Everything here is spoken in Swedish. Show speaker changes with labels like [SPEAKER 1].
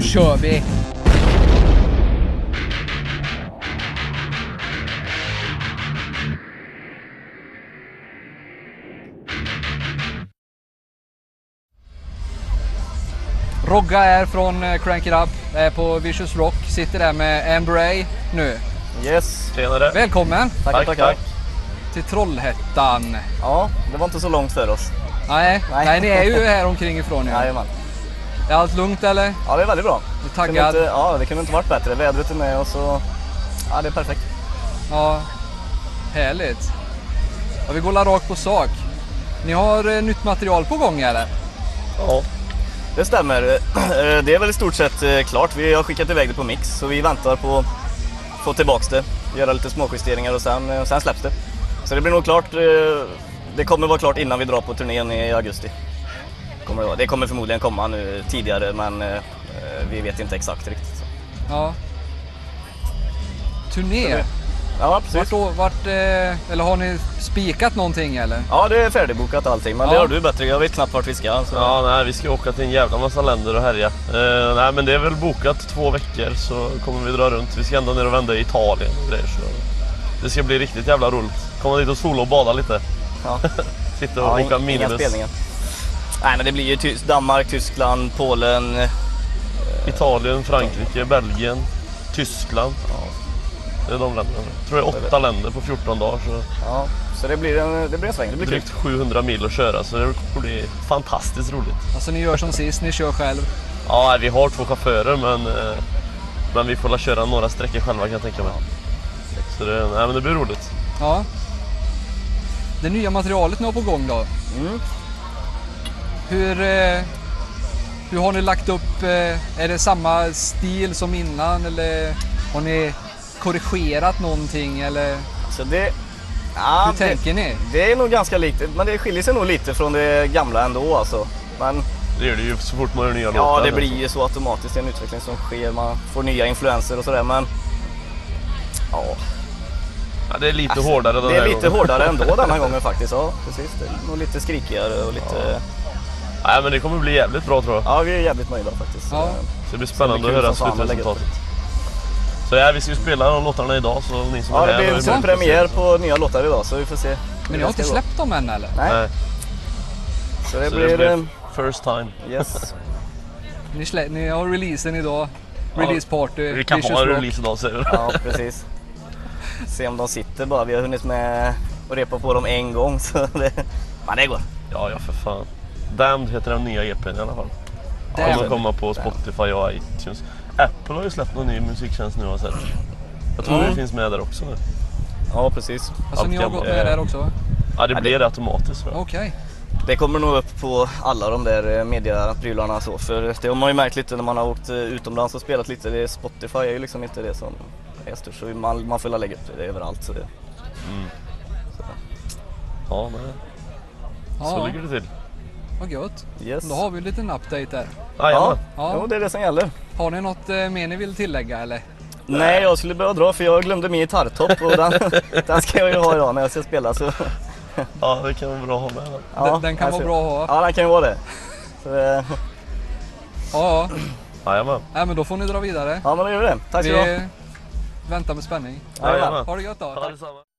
[SPEAKER 1] kör vi! Rogga är från eh, Crank It Up, är på Vicious Rock, sitter där med Ambray nu.
[SPEAKER 2] Yes,
[SPEAKER 3] Tjenare.
[SPEAKER 1] Välkommen
[SPEAKER 2] tack, tack, tack.
[SPEAKER 1] till Trollhättan!
[SPEAKER 2] Ja, det var inte så långt för oss.
[SPEAKER 1] Nej, nej.
[SPEAKER 2] Nej.
[SPEAKER 1] ni är ju här omkring ifrån ju.
[SPEAKER 2] Jajamän.
[SPEAKER 1] Är allt lugnt eller?
[SPEAKER 2] Ja, det är väldigt bra.
[SPEAKER 1] Är du
[SPEAKER 2] Kunde
[SPEAKER 1] taggad?
[SPEAKER 2] Inte, ja, det kunde inte varit bättre. Vädret är med och så... Ja, det är perfekt.
[SPEAKER 1] Ja, härligt. Ja, vi går la rakt på sak. Ni har eh, nytt material på gång eller?
[SPEAKER 3] Ja.
[SPEAKER 2] Det stämmer. Eh, Det är väl i stort sett eh, klart. Vi har skickat iväg det på mix, så vi väntar på att få tillbaks det. Göra lite småjusteringar och sen, eh, sen släpps det. Så det blir nog klart. eh, Det kommer vara klart innan vi drar på turnén i augusti. Kommer det, vara. det kommer förmodligen komma nu tidigare, men eh, vi vet inte exakt riktigt.
[SPEAKER 1] Ja. Turné?
[SPEAKER 2] Turné. Ja, precis.
[SPEAKER 1] Vart då? Vart, eh, eller har ni spikat någonting eller?
[SPEAKER 2] Ja, det är färdigbokat allting, men
[SPEAKER 1] Ja.
[SPEAKER 2] det har du bättre. Jag vet knappt vart vi ska. Så.
[SPEAKER 3] ja, nej, vi ska åka till en jävla massa länder och härja. Eh, nej, men det är väl bokat två veckor så kommer vi dra runt. Vi ska ända ner och vända i Italien och grejer. Så det ska bli riktigt jävla roligt. Komma dit och sola och bada lite.
[SPEAKER 2] Ja.
[SPEAKER 3] Sitta och
[SPEAKER 2] Ja,
[SPEAKER 3] dricka
[SPEAKER 2] inga
[SPEAKER 3] minus.
[SPEAKER 2] spelningar. Nej, men det blir ju Ty- Danmark, Tyskland, Polen.
[SPEAKER 3] Italien, Frankrike, Belgien, Tyskland. Det är de länderna. Jag tror det är åtta länder på 14 dagar. Så
[SPEAKER 2] Ja, så det blir en, det blir en sväng. Det blir kul.
[SPEAKER 3] drygt 700 mil att köra så det kommer bli fantastiskt roligt.
[SPEAKER 1] Alltså ni gör som sist, ni kör själv.
[SPEAKER 3] Ja, nej, vi har två chaufförer men, eh, men vi får la köra några sträckor själva kan jag tänka mig. Så det, nej, men det blir roligt.
[SPEAKER 1] Ja. Det nya materialet ni har på gång då?
[SPEAKER 2] Mm.
[SPEAKER 1] Hur, eh, hur har ni lagt upp? Eh, är det samma stil som innan eller har ni korrigerat någonting eller
[SPEAKER 2] Så det... Ja,
[SPEAKER 1] hur
[SPEAKER 2] det,
[SPEAKER 1] tänker ni?
[SPEAKER 2] det är nog ganska likt, men det skiljer sig nog lite från det gamla ändå alltså. Men
[SPEAKER 3] Det gör det ju så fort man gör nya
[SPEAKER 2] ja,
[SPEAKER 3] låtar. liksom.
[SPEAKER 2] det blir ju så automatiskt. Det är en utveckling som sker. Man får nya influenser och sådär, men... Ja,
[SPEAKER 3] Ja, det är lite hårdare den
[SPEAKER 2] Alltså, det är
[SPEAKER 3] här
[SPEAKER 2] lite
[SPEAKER 3] gången.
[SPEAKER 2] hårdare ändå den här gången faktiskt. Ja, precis. Det är nog lite skrikigare och lite...
[SPEAKER 3] Nej, men det kommer bli jävligt bra tror jag.
[SPEAKER 2] Ja, vi är jävligt nöjda faktiskt.
[SPEAKER 1] Ja.
[SPEAKER 3] Så det blir spännande
[SPEAKER 2] Så det blir kul
[SPEAKER 3] att
[SPEAKER 2] som
[SPEAKER 3] höra
[SPEAKER 2] fan att lägga upp
[SPEAKER 3] slutresultatet. Så ja, vi ska ju spela de låtarna idag så ni som
[SPEAKER 2] Ja,
[SPEAKER 3] är
[SPEAKER 2] det
[SPEAKER 3] här... har ju
[SPEAKER 2] blir en
[SPEAKER 3] möjlighet att se
[SPEAKER 2] premiär
[SPEAKER 3] det.
[SPEAKER 2] på nya låtar idag så vi får se. hur
[SPEAKER 1] Men ni
[SPEAKER 2] det
[SPEAKER 1] har inte
[SPEAKER 2] ska gå.
[SPEAKER 1] släppt dem än eller?
[SPEAKER 2] Nej,
[SPEAKER 3] Nej,
[SPEAKER 2] så det
[SPEAKER 3] så
[SPEAKER 2] blir... eh,
[SPEAKER 3] first time.
[SPEAKER 2] Yes.
[SPEAKER 1] Ni, slä- ni har releasen idag.
[SPEAKER 3] Ja,
[SPEAKER 1] Release party.
[SPEAKER 3] Vi kan
[SPEAKER 1] Vicious
[SPEAKER 3] ha en
[SPEAKER 1] Rock.
[SPEAKER 3] release idag säger du.
[SPEAKER 2] Ja, precis. Se om de sitter bara. Vi har hunnit med att repa på dem en gång så det... Men det går.
[SPEAKER 3] Ja, ja för fan. Damned heter den nya EPn i alla fall.
[SPEAKER 1] Damn.
[SPEAKER 3] Kommer komma på Spotify och iTunes. Apple har ju släppt någon ny musiktjänst nu har jag sett. Jag tror
[SPEAKER 2] Mm.
[SPEAKER 3] det finns med där också nu.
[SPEAKER 2] Ja, precis.
[SPEAKER 1] Alltså ni har gått med där också?
[SPEAKER 3] Ja, det
[SPEAKER 2] Ja,
[SPEAKER 3] blir det automatiskt tror jag.
[SPEAKER 1] Okej.
[SPEAKER 2] Det kommer nog upp på alla de där eh, mediaprylarna så. För det har man ju märkt lite när man har åkt eh, utomlands och spelat lite. Det är Spotify är ju liksom inte det som är störst. Så man, man får väl lägga upp det överallt. Så det...
[SPEAKER 3] Ja, nej. Så
[SPEAKER 1] Ja,
[SPEAKER 3] ligger det till.
[SPEAKER 1] vad gött.
[SPEAKER 2] Yes.
[SPEAKER 1] Då har vi en liten update där.
[SPEAKER 3] Ah,
[SPEAKER 2] Ja,
[SPEAKER 3] ja.
[SPEAKER 1] Ja.
[SPEAKER 2] Jo, det är det som gäller.
[SPEAKER 1] Har ni något eh, mer ni vill tillägga eller?
[SPEAKER 2] Nej, jag skulle behöva dra för jag glömde min gitarrtopp och den, den ska jag ju ha idag när jag ska spela. Så,
[SPEAKER 3] ja, det kan vara bra att ha med.
[SPEAKER 2] ja,
[SPEAKER 1] Den- den kan
[SPEAKER 2] här
[SPEAKER 1] vara
[SPEAKER 2] ser-
[SPEAKER 1] bra att ha.
[SPEAKER 2] Ja, den kan ju vara det. Så, eh,
[SPEAKER 1] Ja, ja.
[SPEAKER 3] Jajamän.
[SPEAKER 1] Nej, men då får ni dra vidare.
[SPEAKER 2] ja, men då gör vi det. Tack så mycket.
[SPEAKER 1] Vi väntar med spänning.
[SPEAKER 2] Jajamän.
[SPEAKER 3] Jajamän.
[SPEAKER 1] Ha det gött då.
[SPEAKER 3] Ja, detsamma.